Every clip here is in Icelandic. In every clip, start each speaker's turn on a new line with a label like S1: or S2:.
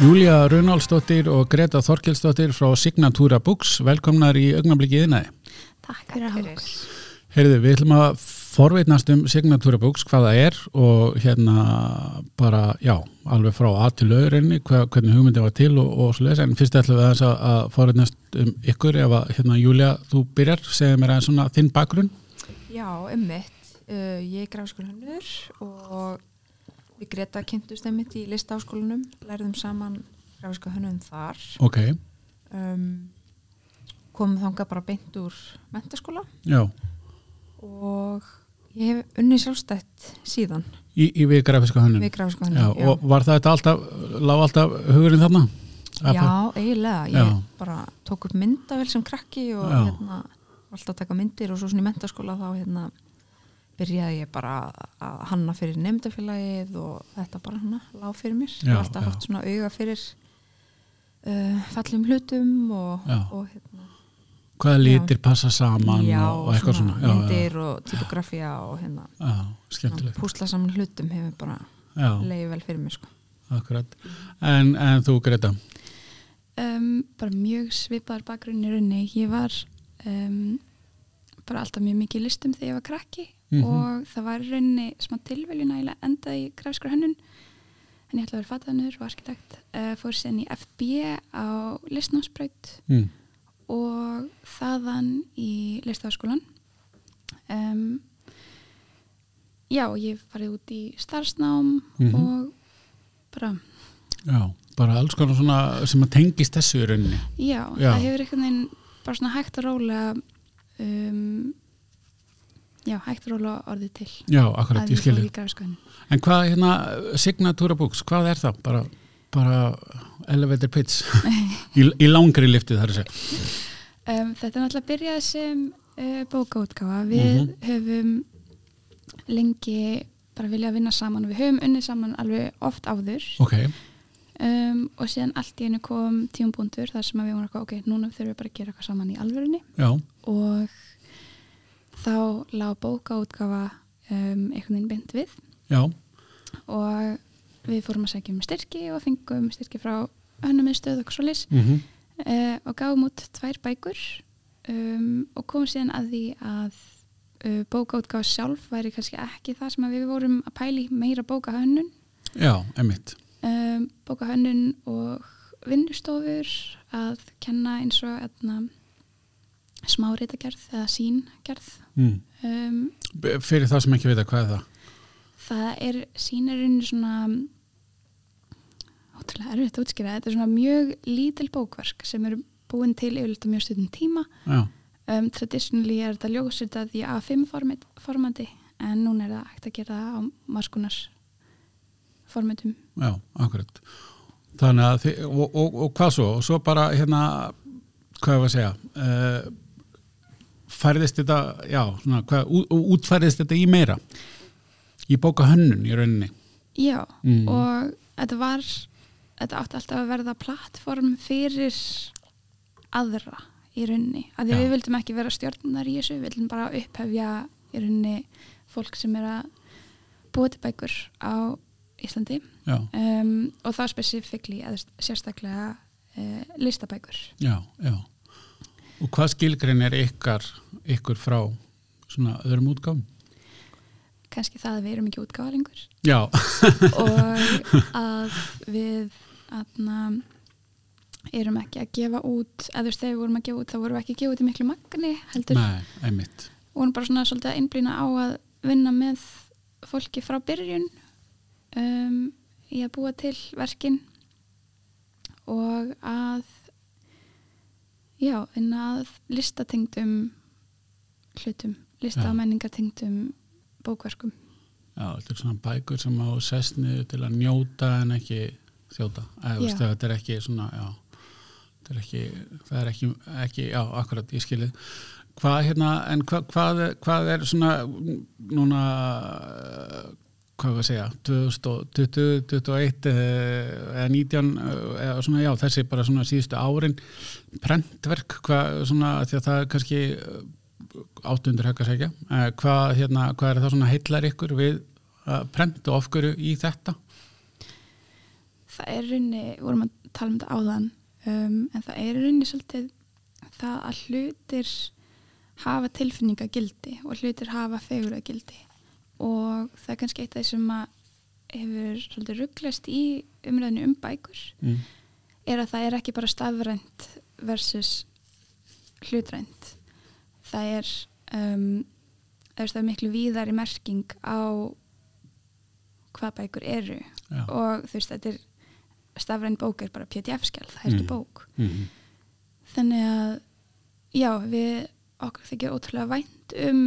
S1: Júlia Runálsdóttir og Greta Þorkelsdóttir frá Signatura Books, velkomnar í augnablikið innæði.
S2: Takk fyrir að hafa okkur.
S1: Heyrðu, við ætlum að forveitnast um Signatura Books, hvað það er og hérna bara, já, alveg frá A til öðurinni, hvernig hugmyndi var til og, og slúðis, en fyrst ætlum við aðeins að, að forveitnast um ykkur, ef að hérna Júlia, þú byrjar, segðu mér aðeins svona þinn bakgrunn.
S2: Já, ummitt. Uh, ég er grafskólanur og Við Greta kynntust einmitt í listáskólanum, lærðum saman grafiska hönnum þar,
S1: Ok,
S2: um, komum þanga bara beint úr mentaskóla
S1: já,
S2: og ég hef unni sjálfstætt síðan
S1: í, í við grafiska hönnun.
S2: við grafiska
S1: Já,
S2: hönnum.
S1: og var það þetta alltaf, lág alltaf hugurinn þarna?
S2: já, eiginlega, ég
S1: Já.
S2: bara tók upp myndavel sem krakki og
S1: Já.
S2: hérna, var alltaf að taka myndir og svo svona í mentaskóla þá hérna byrjaði ég bara að hanna fyrir nefndafélagið og þetta bara hana lág fyrir mér, ég
S1: Já,
S2: hef
S1: já.
S2: alltaf haft svona auga fyrir uh, fallum hlutum og,
S1: Já.
S2: og hérna
S1: Hvaða litir passa saman
S2: já,
S1: og, og eitthvað svona? Já, já.
S2: myndir og typografía og hérna
S1: Já, skemmtilegt.
S2: púsla saman hlutum hefur bara
S1: Já,
S2: leiði vel fyrir mér sko
S1: akkurat. En, en þú, Greta?
S3: um, bara mjög svipaðar bakgrunni runni. Ég var um, bara alltaf mjög mikið í listum þegar ég var krakki
S1: Mhm.
S3: og það var í rauninni smá tilveljun að ég endaði í grafskra hönnun en ég ætla að vera fatanur og arkitekt uh, fór síðan í FB á listnámsbraut
S1: Mm.
S3: og þaðan í listafaskólan um, Já, ég hef farið út í starfsnám
S1: Mhm.
S3: og bara
S1: Já, bara alls konar svona sem að tengist þessu í rauninni.
S3: Já,
S1: Já.
S3: það hefur einhvern veginn bara svona hægt að róla um, já, hægt að róla orðið til
S1: Já, akkurat,
S3: að
S1: ég
S3: fór
S1: skilji.
S3: í grafskoðun
S1: En hvað, hérna, Signatura Books, hvað er það? Bara, bara elevator pitch í, í langri liftið þar að segja.
S3: um, Þetta er náttúrulega byrjað sem uh, bókaútgáfa við
S1: Mhm.
S3: höfum lengi bara viljað vinna saman og við höfum unnið saman alveg oft áður
S1: Ok,
S3: um, og síðan allt í einu kom tíumbúndur þar sem að við vorum eitthvað, ok, núna þurfum við bara að gera eitthvað saman í alvörunni
S1: já,
S3: og þá lág bókaútgáfa um, einhvern veginn beint við
S1: já,
S3: og við fórum að segja um styrki og fengum styrki frá önnumiðstöð og svo lis
S1: mm
S3: uh, og gáum út tvær bækur um, og komum síðan að því að uh, bókaútgáð sjálf væri kannski ekki það sem að við vorum að pæli meira bókahönnun
S1: já, emitt.
S3: um, bókahönnun og vinnustofur að kenna eins og etna, smáritagerð eða síngerð
S1: Mm.
S3: um,
S1: B- Fyrir það sem ekki vita, hvað er það?
S3: Það er sínirinn svona ótrúlega erfitt að útskýra. Þetta er svona mjög lítil bókverk sem eru búin til yfirleitt á mjög stundum tíma.
S1: Já,
S3: Um, traditionally er þetta ljósritað í A5 format, formati en núna er það hægt að gera það á maskunars formatum.
S1: já, akkurat. Þannig að, þið, og, og, og hvað svo? Og svo bara, hérna, hvað ég var að segja, uh, færðist þetta, já, svona, hvað, ú, útfærðist þetta í meira? Í bóka hönnun í rauninni?
S3: Já,
S1: Mm.
S3: og þetta var þetta átti alltaf að verða plattform fyrir aðra í rauninni, af því
S1: Já.
S3: við vildum ekki vera stjórnar í þessu, við vildum bara upphefja í rauninni fólk sem er að búa til bækur á Íslandi
S1: Já,
S3: um, og þá spesifíkli eða sérstaklega uh, listabækur
S1: já, já. Og hvað skilgrein er ykkar, ykkur frá svona öðrum útgáfum?
S3: kannski það að við erum ekki útgáfa lengur
S1: Já,
S3: og að við aðna, erum ekki að gefa út eða þú veist þegar við vorum að gefa út þá vorum við ekki að gefa út í miklu magni heldur
S1: nei, einmitt.
S3: vorum bara svona svolítið að innblýna á að vinna með fólki frá byrjun um, í að búa til verkin og að já, vinna að listatengdum hlutum, lista-
S1: Já.
S3: og menningatengdum bókverkum
S1: Já, þetta er svona bækur sem á sest niður til að njóta en ekki þjóta. Eða, þú
S3: Já.
S1: veist, þetta er ekki svona, já, þetta er ekki, það er ekki, ekki já, akkurat, ég skilið. Hvað, hérna, en hva, hvað, er- hvað er svona, núna, eh, hvað var að segja, 2020, 2021 eh, eða 19, eh, eða svona, já, þessi bara svona síðustu árin, prentverk, hvað, svona, af því að það er kannski áttundur högg að segja uh, hvað, hérna, hvað er það svona heillar ykkur við að prenta og af hverju í þetta
S3: það er í rauninni, við vorum að tala um þetta áðan um, en það er í rauninni svolítið það að hlutir hafa tilfinningagildi og hlutir hafa feguragildi og það er kannski eitt af því sem að hefur svolítið rugglast í umræðinu um bækur
S1: mm.
S3: er að það er ekki bara stafrænt versus hlutrænt það er um, það er- það er miklu víðari merking á hvað bækur eru
S1: Já.
S3: og þú veist þetta er stafræn bók er bara pdf-skjál, það er ekki
S1: Mhm.
S3: bók
S1: Mm.
S3: þannig að já, við okkur þykir ótrúlega vænt um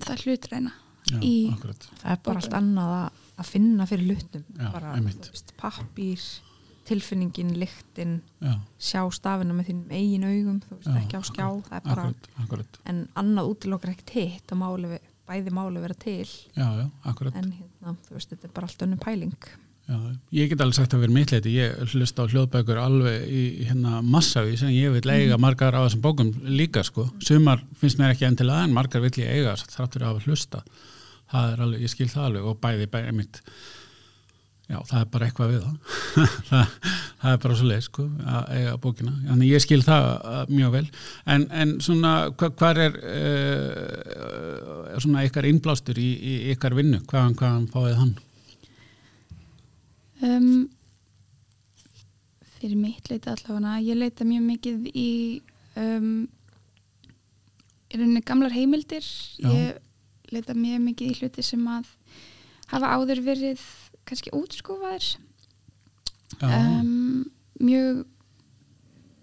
S3: það hlutræna
S1: Já,
S3: Í-
S1: akkurat
S2: það er bara allt annað að, að finna fyrir lutnum
S1: Já,
S2: bara,
S1: einmitt.
S2: þú veist, pappír, tilfinningin, lyktin
S1: Já,
S2: sjá stafina með þínum eigin augum þú veist,
S1: Já,
S2: ekki á skjá, það er bara
S1: akkurat, akkurat
S2: en annað útilokkar ekkert hitt og máli, við- bæði máli vera til
S1: Já, já, akkurat
S2: en hérna, þú veist, þetta er bara allt önnu pæling
S1: Já, ég get alveg sagt að vera mitt leiti, ég hlusta á hljóðbækur alveg í hérna massavís en ég vil eiga margar á þessum bókum líka sko, sumar finnst mér ekki endilega en margar vill ég eiga þráttur að hafa hlusta það er alveg, ég skil það alveg og bæði bæði mitt já, það er bara eitthvað við það það, það er bara svo leið sko að eiga bókina, þannig ég skil það uh, mjög vel, en, en svona hva, hvað er uh, svona ykkar innblástur í, í ykkar vinnu, hvaðan, hvaðan fáið hann
S3: um, fyrir mitt leita allavega ég leita mjög mikið í um, í rauninni gamlar heimildir
S1: Já.
S3: ég leita mjög mikið í hluti sem að hafa áður verið kannski útskúfaðir
S1: já,
S3: um, mjög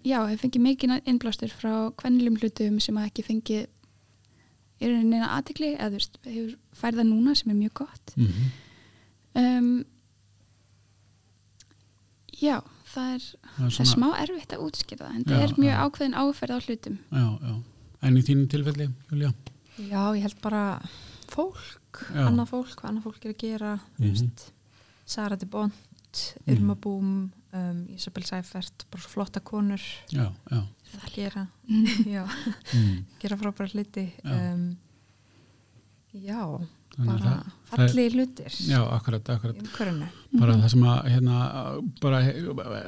S3: já, hef fengið mikið innblástur frá kvennlum hlutum sem að ekki fengið í rauninni neina aðtikli eða þú veist, hefur færða núna sem er mjög gott
S1: mhm
S3: um, Já, það er,
S1: það er
S3: það er smá
S1: svona,
S3: erfitt að útskýra það en
S1: Já,
S3: það er mjög
S1: já.
S3: ákveðin áferð á hlutum
S1: já, já. en í þínu tilfelli, Júlia
S2: Já, ég held bara fólk,
S1: Já.
S2: annað fólk, hvað annað fólk er að gera, þú
S1: Mhm.
S2: veist, Sara de Bond, Irma Boom, um, Isabel Seifert, bara svo flotta konur
S1: já, já,
S2: að gera, já,
S1: mm.
S2: gera frábæra hluti.
S1: Já.
S2: Um, já,
S1: Þannig að
S2: bara
S1: það- það er-
S2: fallið hlutir
S1: já, akkurat, akkurat
S2: í umhverfinu.
S1: bara
S3: Mhm.
S1: það sem að hérna, bara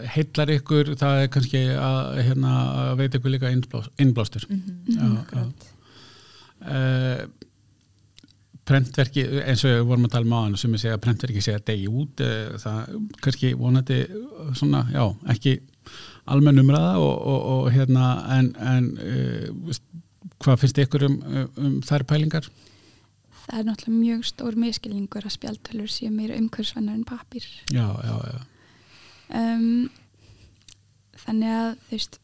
S1: heillar ykkur það er kannski að hérna, veit ykkur líka innblás- innblástur mm.
S2: Mm
S1: Já, já.
S2: akkurat.
S1: prentverki eins og við vorum að tala um áðan sem ég segja að prentverki segja degi út eh, það kannski vonandi eh, svona, já, ekki almenn umræða og, og, og hérna en, en uh, hvað finnst ykkur um, um, um þær pælingar?
S3: Það er náttúrulega mjög stór miskilningur að spjaltölur séu meira umhverfsvennar en pappir
S1: Já, já, já,
S3: um, Þannig að þú veist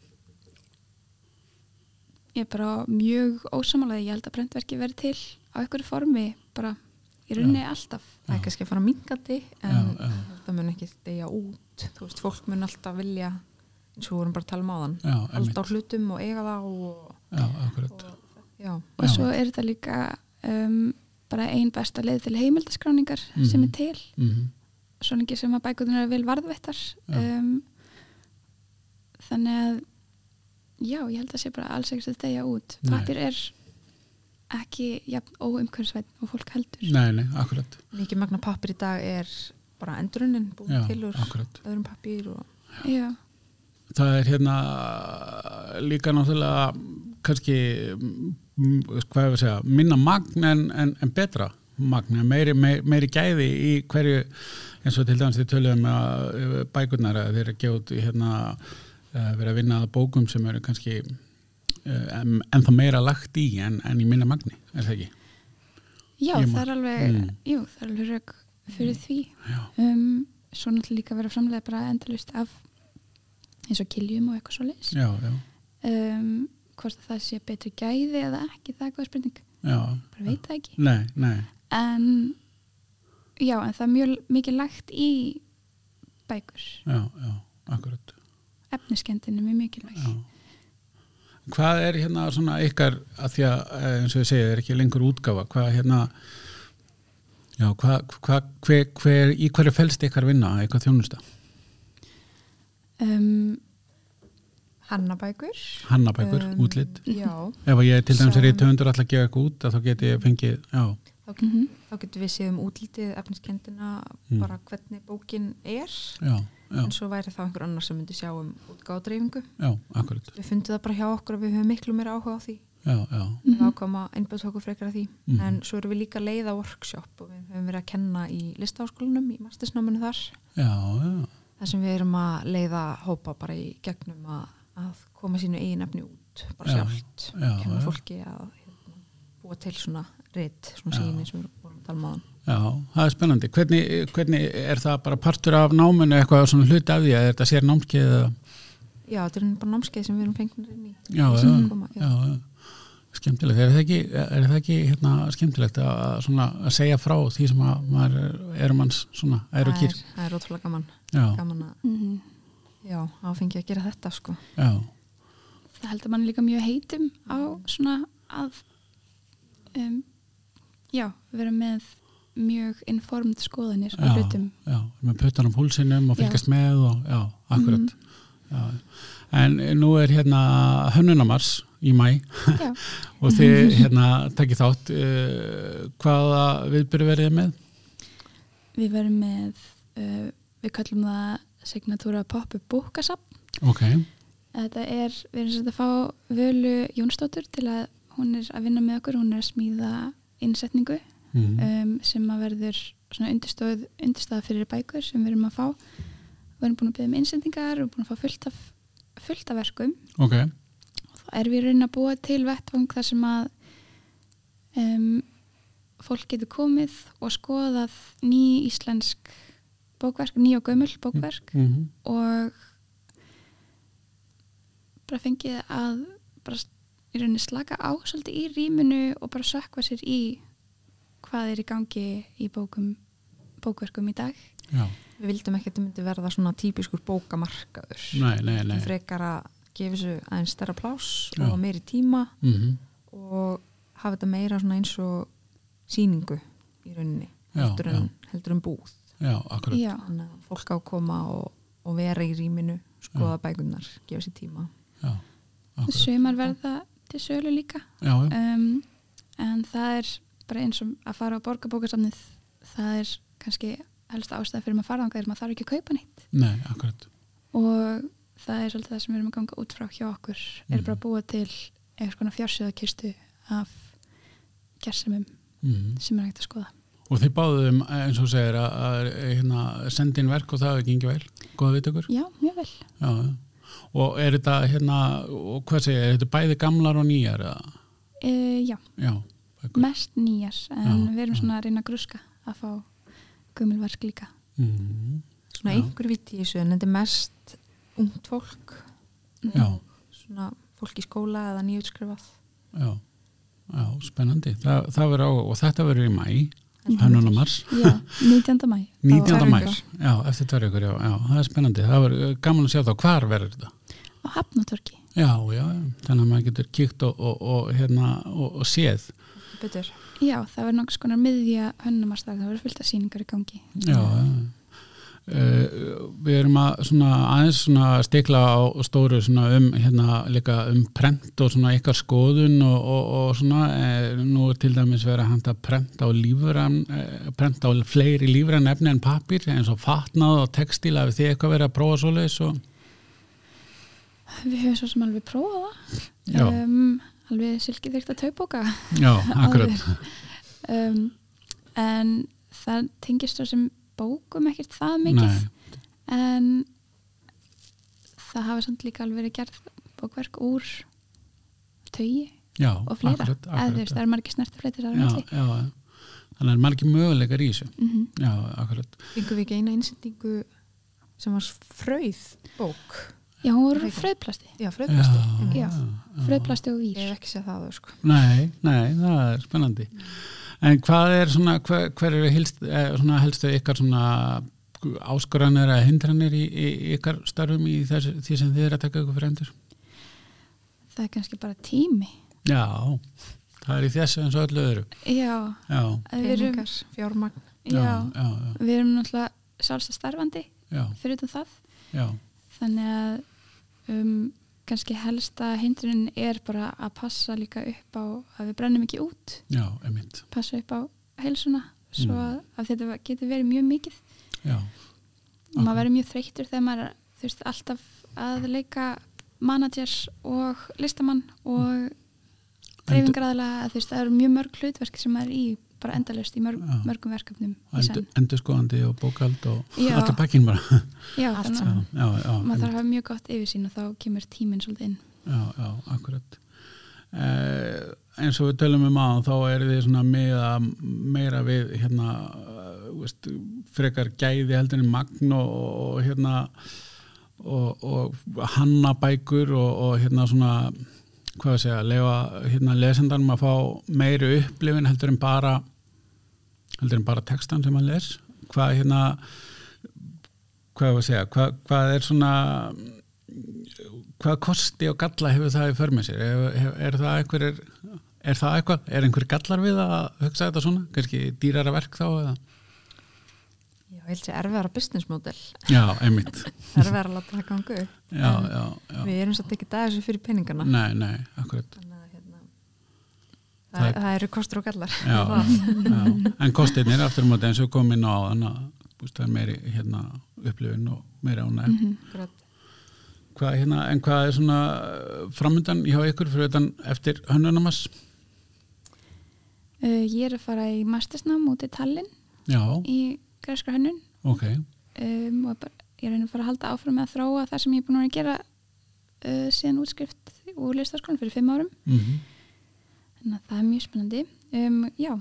S3: ég er bara mjög ósamálaði, ég held að brentverki verði til á einhverju formi, bara í rauninni alltaf
S2: Það er kannski að fara mingandi en
S1: Já, já.
S2: það mun ekki degja út, þú veist, fólk mun alltaf vilja, eins og við vorum bara að tala um áðan,
S1: já,
S2: halda
S1: einmitt,
S2: á hlutum og eiga þá og,
S1: já, akkurat
S2: og já.
S3: og
S1: Já.
S3: svo er þetta líka um, bara ein besta leið til heimildaskráningar sem
S1: Mhm.
S3: er til
S1: mm
S3: svo lengi sem að bækurnar er vel varðvettar
S1: Já.
S3: um, þannig að já, ég held að sé bara alls ekkert að degja út
S1: Nei.
S3: pappir er ekki jafn óumhverfisvætt og fólk heldur
S1: Nei, nei, akkurat
S2: Mikið magna pappir í dag er bara endurunin búin
S1: Já,
S2: til úr
S1: akkurat
S2: öðrum pappir og
S3: já,
S1: það er hérna líka náttúrulega kannski mm, hvað hefur að segja, minna magn en, en, en betra magn en meiri, meiri, meiri gæði í hverju eins og til dæmis þið töluðum að eh, bækurnar að þeir eru gjóð hérna eh, verið að vinna að bókum sem eru kannski eh, en, en það meira lagt í en, en í minna magni, er það ekki?
S3: já
S1: Ég
S3: það
S1: man-
S3: er alveg
S1: Mm.
S3: jú, það er alveg rauk fyrir því
S1: Já,
S3: um, svo náttúrulega líka að vera framlega bara endalust af eins og kiljum og eitthvað svo leis
S1: já, já,
S3: um, hvort að það sé betri gæði eða ekki, það er góð spurning
S1: já.
S3: bara veit það ekki
S1: Nei, nei,
S3: en já, en það er mjög mikið lagt í bækur
S1: já, já, akkurat
S3: efniskendin er mjög mikilvæg
S1: Já. Hvað er hérna svona ykkar að því að eh, eins og ég segi, það er ekki lengur útgáfa hvað hérna já, hvað, hvað, hver, hver í hverju felst ykkar vinna, eitthvað þjónusta
S3: um,
S2: hannabækur Um,
S1: hannabækur, útlit
S2: Já,
S1: ef að ég til dæmis
S2: Sá-
S1: er í töndur alltaf að gefa eitthvað út að þá geti ég fengið, já,
S2: þá,
S3: mm -hmm.
S2: þá getum við séð um útlitið efniskendina,
S1: Mm.
S2: bara hvernig bókin er
S1: já, já,
S2: en svo væri þá einhver annar sem myndi sjá um útgáðdreifingu.
S1: já, akkurat
S2: Við fundum það bara hjá okkur að við höfum miklu meira áhuga á því
S1: já, já,
S2: mm -hmm. ákvæm að einbjöðt okkur frekar að því
S1: Mhm.
S2: en svo erum við líka að leiða workshop og við höfum verið að kenna í listaháskólanum í mastersnáminu þar
S1: já, já,
S2: þar sem við erum að leiða hópa bara í gegnum að, að koma sínu eigin efni út bara
S1: Já,
S2: sjálft,
S1: já,
S2: kenna
S1: já.
S2: fólki að hérna, búa til svona reitt, svona
S1: Já.
S2: síni sem við erum búin að tala um maðan
S1: já, það er spennandi hvernig, hvernig er það bara partur af náminu eitthvað svona hluti af því að þetta sér námskeið eða,
S2: Já, þetta er bara námskeið sem við erum fengnir inn í
S1: já,
S2: þeir
S1: já,
S2: sem koma, já.
S1: já, já skemmtilegt, er það ekki, er það ekki hérna, skemmtilegt að, að svona, að segja frá því sem að maður er- er manns svona, er og
S2: það,
S1: kýr
S2: er, það er ótrúlega gaman
S1: já,
S2: gaman að, já, áfengi að gera þetta sko
S1: já,
S3: Það heldur mann líka mjög heitum á svona að um, já, vera með mjög informed skoðanir á
S1: já,
S3: hlutum.
S1: já með puttan um húlsinum og fylgjast með og já, akkurat
S2: Mhm.
S1: já. en nú er hérna hönnunamars í mæ
S3: Já,
S1: og
S2: Mhm.
S1: þið hérna takkið þátt uh, hvaða viðbyrðu verið þið með
S3: við verum með uh, við kallum það signatúra pop-up bókasapn.
S1: ok,
S3: Þetta er, við erum svolítið að fá Völu Jónsdóttur til að hún er að vinna með okkur, hún er að smíða innsetningu
S1: mm.
S2: Eh,
S3: um, sem að verður svona undirstöð, undirstaða fyrir bækur sem við erum að fá við erum búin að byggja um innsendingar og búin að fá fullt af, fullt af verkum
S1: ok
S3: og þá er við raun að búa til vettvang þar sem að um, fólk getur komið og skoðað ný íslensk bókverk, ný og gömul bókverk
S1: mm
S3: og bara fengið að bara s- í rauninni slaka á svolítið í rýminu og bara sökva sér í hvað er í gangi í bókum, bókverkum í dag
S1: já,
S2: Við vildum ekki að þetta myndi verða svona típiskur bókamarkaður
S1: nei, nei, nei
S2: Við frekar að gefa þessu aðeins stærra pláss
S1: Já.
S2: og meiri tíma
S1: mm
S2: og hafa þetta meira svona eins og síningu í rauninni
S1: Já,
S2: heldur en, heldur en búð
S1: já, akkurat
S3: Já,
S2: þannig að fólk á að koma og, og vera í rýminu skoða bækurnar, gefa sér tíma
S1: já, akkurat
S3: sumar verða til sölu líka
S1: já, já,
S3: um, en það er bara eins og að fara á borgarbókasafnið það er kannski helsta ástæð fyrir maður að fara þangað er að maður þarf ekki að kaupa neitt
S1: nei, akkurat
S3: og það er svolítið það sem við erum að ganga út frá hjá okkur er
S1: Mhm.
S3: bara að búa til einhvers konar fjársöðakistu af gersemum
S1: mm.
S3: sem er hægt að skoða
S1: og þið báðum eins og þú segir að, að hérna, senda inn verk og það hefur gengið vel góða vitökur
S3: Já, mjög vel
S1: já, já. og er þetta hérna, og hvað segir, er þetta bæði gamlar og nýjar eða?
S3: e, Já,
S1: já, bækur
S3: mest nýjar en
S1: Já,
S3: við erum
S1: já.
S3: svona að reyna að gruska að fá gömulverk líka
S1: mm.
S2: svona
S1: Já.
S2: einhver viti í þessu en þetta er mest ungt fólk
S1: já,
S2: svona fólk í skóla eða nýjutskrifað
S1: já, já, spennandi Þa, það verður á, og þetta verður í mæ
S2: Heldur betur.
S1: hönnunamars
S3: Já, 19. mæ
S1: 19.
S2: Tvær
S1: mæ,
S2: vikur.
S1: já, eftir tvær ykkur, já, já, það er spennandi, það var uh, gaman að sjá þá, hvar verður þetta?
S3: á Hafnatorki
S1: Já, já, já, þannig að maður getur kíkt og, og, og hérna, og, og séð,
S2: betur
S3: Já, það verður nokkurs konar miðja hönnumarstag, það verður fullt af síningar í gangi.
S1: já, já. Uh, við erum að svona aðeins svona stikla á stóru svona um hérna líka um prent og svona ykkar skoðun og, og, og svona eh, nú er til dæmis verið að handa prent á lífran eh, prent á fleiri lífran efni en pappir eins og fatnað og textil að þið eitthvað verið að prófa svoleiðis og
S3: Við höfum svo sem alveg prófað það,
S1: Já.
S3: um, alveg silkið þykta taupóka,
S1: já, akkurat
S3: um, en það tengist svo sem bókum ekkert það mikið,
S1: Nei,
S3: en það hafa samt líka alveg verið gerð bókverk úr tögi
S1: já,
S3: og fleira,
S1: akkurat,
S3: eða þú
S1: akkurat,
S3: veist, það er margir snertifleitir þar á
S1: já,
S3: milli.
S1: já, já. þannig er margir möguleikar í þessu
S3: Mm -hmm.
S1: já, akkurat,
S2: fengum við ekki eina einsendingu sem var fröð bók
S3: Já, hún voru
S2: Það er
S3: úr fröðplasti,
S2: já,
S1: já,
S2: fröðblasti
S3: Já. fröðplasti og
S2: ég
S3: vír.
S2: hef ekki séð það áður, sko.
S1: Nei, nei, það er spennandi. En hvað er svona, hver, hver eru helst, eh, svona helstu ykkar svona áskoranir eða hindranir í, í í ykkar starfum í þess, því sem þið er að taka ykkur fyrir endur?
S3: Það er kannski bara tími.
S1: Já, það er í þessu eins og öllu öðru.
S3: Já,
S1: Já,
S3: að við erum,
S2: peningar, fjármagn
S1: já, já,
S3: já,
S1: já,
S3: við erum náttúrulega sjálfstæð starfandi
S1: já,
S3: fyrir utan það
S1: já,
S3: þannig að um, kannski helsta hindrunin er bara að passa líka upp á að við brennum ekki út
S1: já, emitt.
S3: passa upp á heilsuna svo að,
S1: Mm.
S3: að þetta var- getur verið mjög mikið
S1: já,
S3: og maður verður mjög þreyttur þegar maður er, þú veist, alltaf að leika managers og listamann og
S1: Mm.
S3: dreifingraðla þú veist, það eru mjög mörg hlutverk sem maður er í bara endalust í mörg,
S1: Já.
S3: mörgum verkefnum í
S1: endur,
S3: senn.
S1: endurskoðandi og bókald og
S3: Já.
S1: alltaf pakkin bara
S3: Já,
S2: Allt
S3: þannig
S1: já, já,
S3: að
S1: já, einmitt.
S3: maður þarf að hafa mjög gott yfirsýn og þá kemur tíminn svolítið inn
S1: já, já, akkurat eh, eins og við tölum um aðan þá er þið svona meða, meira við hérna eh, veist, frekar gæði heldur en magn og, og hérna og, og hanna bækur og, og hérna svona hvað að segja, lefa hérna lesendanum að fá meiri upplifin heldur en bara heldur en bara textan sem hann les hvað hérna hvað ég var að segja, hvað, hvað er svona hvað kosti og galla hefur það í förmið sér er, er það einhverjir er það eitthvað, er einhver gallar við að hugsa þetta svona, kannski dýrara verk þá eða?
S2: Já, ég held sér erfiðara business model
S1: já, einmitt
S2: erfiðara að láta það gangu upp.
S1: já,
S2: En
S1: já, já,
S2: Við erum satt ekki dagis fyrir peningana
S1: nei, nei, akkurat
S2: þannig að hérna það,
S1: Það-
S2: það, eru kostur og gallar
S1: já, já. en kostirnir aftur á móti eins og komin á þannig að búst, það er meiri hérna, upplifun og meiri ánæg
S3: Mhm.
S2: Akkurat.
S1: hvað, hérna, en hvað er svona framöndan hjá ykkur fyrir utan eftir hönnunamans
S3: uh, ég er að fara í mastersnám út í Tallinn
S1: já,
S3: í græskra hönnun
S1: ok
S3: um, og bara, ég er að fara að halda áfram með að þróa það sem ég er búin að vera að gera uh, síðan útskrift úr listaskólan fyrir fimm árum
S1: mm
S3: þannig að það er mjög spennandi um, já,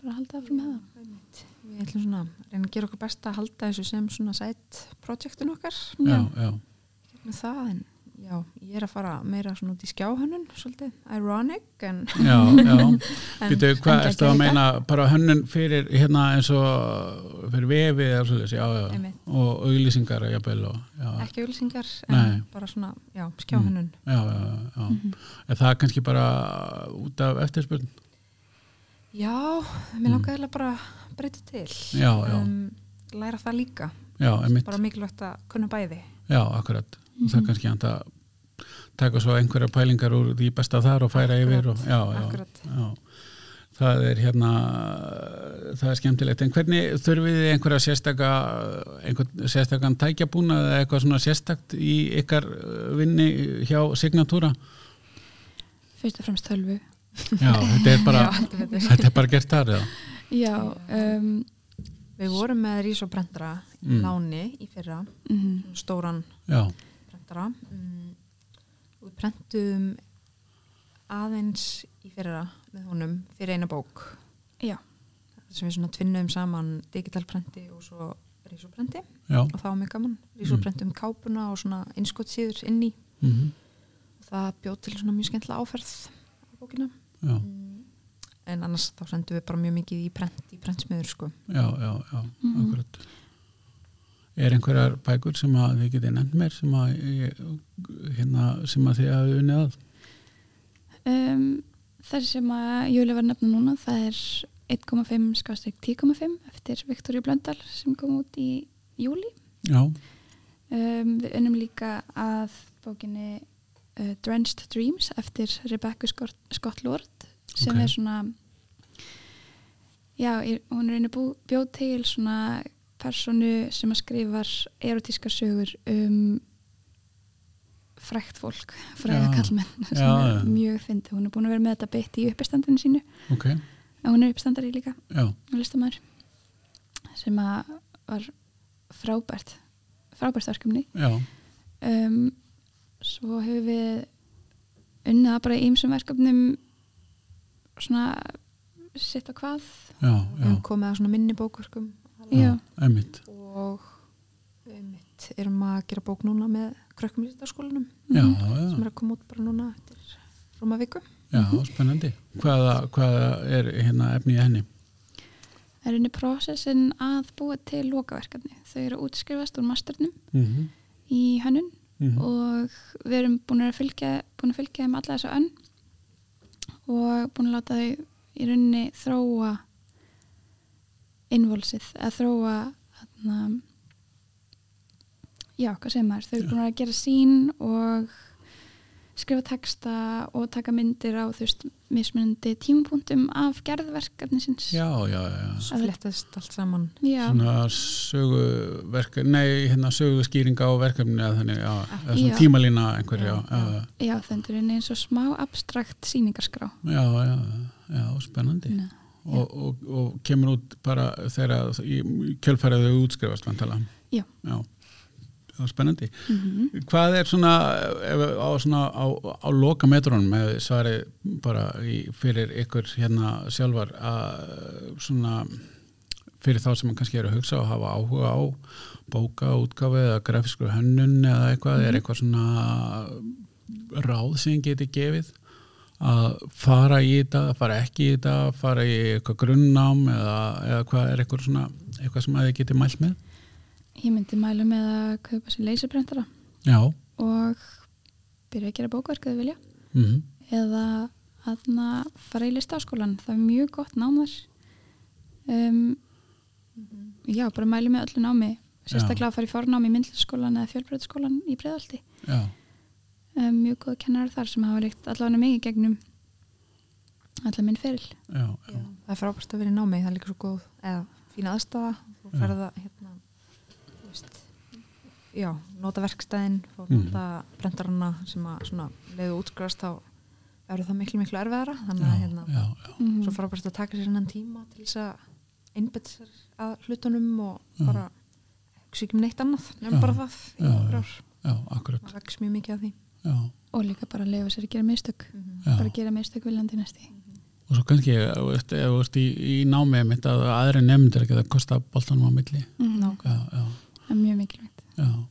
S3: bara að halda áfram með það
S2: Við ætlum svona að reyna að gera okkur besta að halda þessu sem svona sætt projektin okkar
S1: já, já,
S2: með það en já, ég er að fara meira svona út í skjáhönnun svolítið, ironic en,
S1: já, já.
S2: en um
S1: Býtu, hvað
S3: en
S1: erstu að
S3: geggjað
S1: meina bara hönnun fyrir hérna eins og fyrir vefið eða svolítið, já, já,
S2: Einmitt.
S1: og auglýsingar jafnvel og, já, já,
S2: ekki auðlýsingar en
S1: Nei. Mm.
S2: bara svona, já, skjáhönnun
S1: já, já, já.
S2: Mhm.
S1: er það kannski bara út af eftirspurn?
S2: Já,
S1: Mm.
S2: mér langaði mm. bara að breyta til
S1: Já, já.
S2: læra það líka
S1: Já, einmitt,
S2: Um, bara Mhm. mikilvægt að kunna bæði
S1: já, akkurat það er kannski hægt að taka svo einhverja pælingar úr því besta þar og færa yfir og, já, já,
S2: akkurat.
S1: já það er hérna það er skemmtilegt, en hvernig þurfið þið einhverja sérstaka einhvern sérstakan tækjabúna eða eitthvað svona sérstakt í ykkar uh, vinni hjá Signatúra
S3: fyrst og fremst tölvu
S1: já, þetta er bara,
S2: Já, heldur betur.
S1: þetta er bara gert þar eða?
S3: já, um,
S2: Við vorum með Rís og Brendra í
S1: Mm.
S2: láni í fyrra,
S3: mhm,
S2: stóran
S1: já,
S2: prentara mm, og við prentum aðeins í fyrra með honum fyrir eina bók
S3: já,
S2: sem við svona tvinnum saman digitalprenti og svo risoprenti
S1: já
S2: og það var mjög gaman
S1: Mm.
S2: risoprenti um kápuna og svona innskottsýður inn í
S1: mm
S2: og það bjóð til svona mjög skemmtilega áferð á bókina
S1: já,
S2: mm. en annars þá sendum við bara mjög mikið í prent í prentsmiður sko
S1: já, já, já
S3: Mhm.
S1: akkurat er einhverjar bækur sem að þið getið nefnt mér sem að, ég- hérna, sem að þið hafið unnið að
S3: um, það sem að Júli var að nefna núna það er 1,5 skástrík 10,5 eftir Viktoríu Blöndal sem kom út í júli
S1: já,
S3: Um, við unnum líka að bókinni uh, Drenched Dreams eftir Rebecca Scott, Scott Lord sem
S1: Ok.
S3: er svona já, er, hún er einu bú, bjóð til svona personu sem að skrifar erotískar sögur um frækt fólk, fræða
S1: Já.
S3: kallmenn sem
S1: Já,
S3: er
S1: já.
S3: mjög fyndi, hún er búin að vera með þetta beitt í uppistandinu sínu
S1: ok
S3: en hún er uppistandari líka,
S1: já,
S3: hún listamæður sem að var frábært frábært verkefni
S1: já
S3: um, svo hefur við unnið að bara ímsum verkefnum svona sitt á hvað
S1: já, já,
S2: við erum komið að svona minni bókverkum
S3: Já.
S1: já, einmitt
S2: og mitt erum að gera bók núna með krökkum lítaskólanum
S1: já,
S3: Mm. Mhm.
S2: sem
S1: já,
S2: er að koma út bara núna eftir rúma viku
S1: já, spennandi hvaða, hvaða er hérna efni í henni
S3: það er unni prósessin að búa til lokaverkefni þau eru að útskrifast úr masternum
S1: mm -hmm.
S3: í hönnun
S1: Mhm.
S3: og við erum búin að fylgja búin að fylgja þeim alla þessa önn og búin að láta þau í rauninni þróa innvolsið að þróa þarna, já, hvað segir maður þau eru búin að gera sín og skrifa texta og taka myndir á þú veist, mismunandi tímapunktum af gerðverkefnisins
S1: já, já, já.
S2: Svo flettast allt saman
S3: Já,
S1: svona söguverk nei, hérna sögu skýringa á verkefni eða þannig, já, eða svona
S3: Já.
S1: tímalína einhverja,
S2: Já,
S1: já,
S3: já þendurinn eins og smá abstrakt sýningarskrá
S1: já, já, já, já spennandi
S3: Nei.
S1: og, og, og kemur út bara þegar í kjölfærið þau útskrifast vantala
S3: Já.
S1: já, það er spennandi
S3: mm -hmm.
S1: Hvað er svona, ef, á, svona á, á loka metrónum ef svarið bara í, fyrir ykkur hérna sjálfar að svona fyrir þá sem kannski eru að hugsa og hafa áhuga á bóka, útgáfi eða grafiskur hönnun eða eitthvað, er eitthvað svona ráð sem geti gefið að fara í þetta, fara ekki í þetta, fara í eitthvað grunnnám eða, eða hvað er eitthvað svona, eitthvað sem að þið geti mælt með?
S3: Ég myndi mæla með að kaupa sér leysibrentara
S1: Já,
S3: og byrja að gera bókverk eða vilja
S1: mhm,
S3: eða að fara í listaskólan það er mjög gott námar um, Já, bara mælu með öllu námi sérstaklega að fara í fornámi í myndlistaskólan eða fjölbreytaskólan í breyðaldi
S1: já,
S3: um, mjög góða kennarar þar sem hafa líkt allavega mig í gegnum allavega minn feril
S1: já, já.
S2: það er frábært að vera í námi, það er líka svo góð eða fín aðstafa, þú
S1: Já.
S2: ferða hérna, þú veist já, nota verkstæðin og
S1: Mhm.
S2: nota brendarana sem að svona leiðu útskrifast þá verður það miklu miklu erfiðara þannig að hérna,
S1: já, já.
S3: mm
S2: svo frábært að taka sér hennan tíma til þess að einbetta sér að hlutunum og
S1: Já.
S2: bara hugsa ekki um neitt annað,
S1: Já.
S2: nefnum bara það í
S1: Já,
S2: nokkur
S1: já.
S2: ár,
S1: Já, akkurat.
S2: maður vex mjög mikið af því
S1: Já,
S3: og líka bara að lefa sér að gera mistök
S2: Mhm.
S1: já.
S3: bara gera mistök viljandi næsti
S1: Og svo kannski, ef þú ert- ef þú ert í, í námið mitt að aðri nefndir geta kosta boltanum á milli.
S3: mm.
S1: Já, já,
S3: það er mjög mikilvægt
S1: já.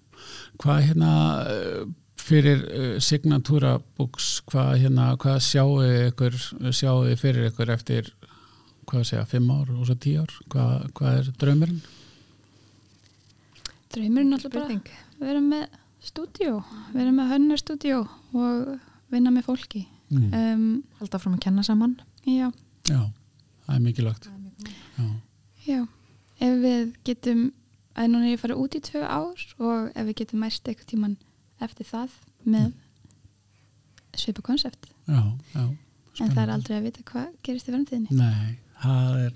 S1: Hvað hérna eh, fyrir eh, signatúra books, hvað hérna, hvað sjáu ykkur, sjáu þið fyrir ykkur eftir, hvað segja, fimm ár og svo tíu ár? Hvað, hvað er draumurinn?
S3: draumurinn er alltaf bara
S2: Spurning.
S3: að vera með stúdíó vera með hönnarstúdíó og vinna með fólki
S1: Mm.
S3: um,
S2: halda fram að kenna saman
S3: já,
S1: Já, það er mikilvægt.
S2: Það er mjög gaman.
S1: Já,
S3: já ef við getum að núna er ég farið út í tvö ár og ef við getum mæst eitthvað tíman eftir það með svipa konsept
S1: já, já.
S3: en það er
S1: Spennandi.
S3: aldrei að vita hvað gerist í framtíðinni
S1: Nei, það er...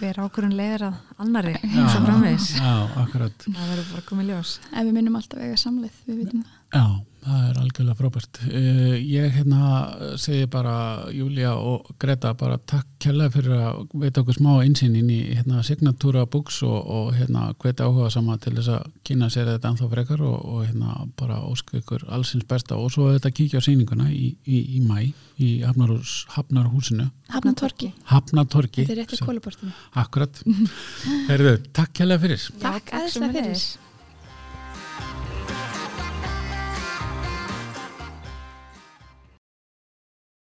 S2: hver ákvörun leiðir að annari
S1: Já,
S2: svo framvegis
S1: Já, akkurat.
S2: það verður bara komið ljós
S3: Ef við minnum alltaf eiga samleið, við vitum það.
S1: Já, það er algjörlega frábært. Uh, ég hérna segi bara Júlia og Greta bara takk kærlega fyrir að veita okkur smá einsinn inn í hérna signatúra books og, og hérna hveti áhuga sama til þess að kynna sér þetta ennþá frekar og, og hérna bara ósku ykkur allsins besta og svo þetta kíkja á sýninguna í, í, í mæ í Hafnarhús, Hafnarhúsinu,
S3: Hafnatorki,
S1: Hafnatorki.
S3: þetta er rétt að kólabortinu.
S1: Akkurat. Herðu, takk kærlega fyrir.
S2: Já,
S3: Takk aðeins
S2: sömuleiðis.
S3: fyrir.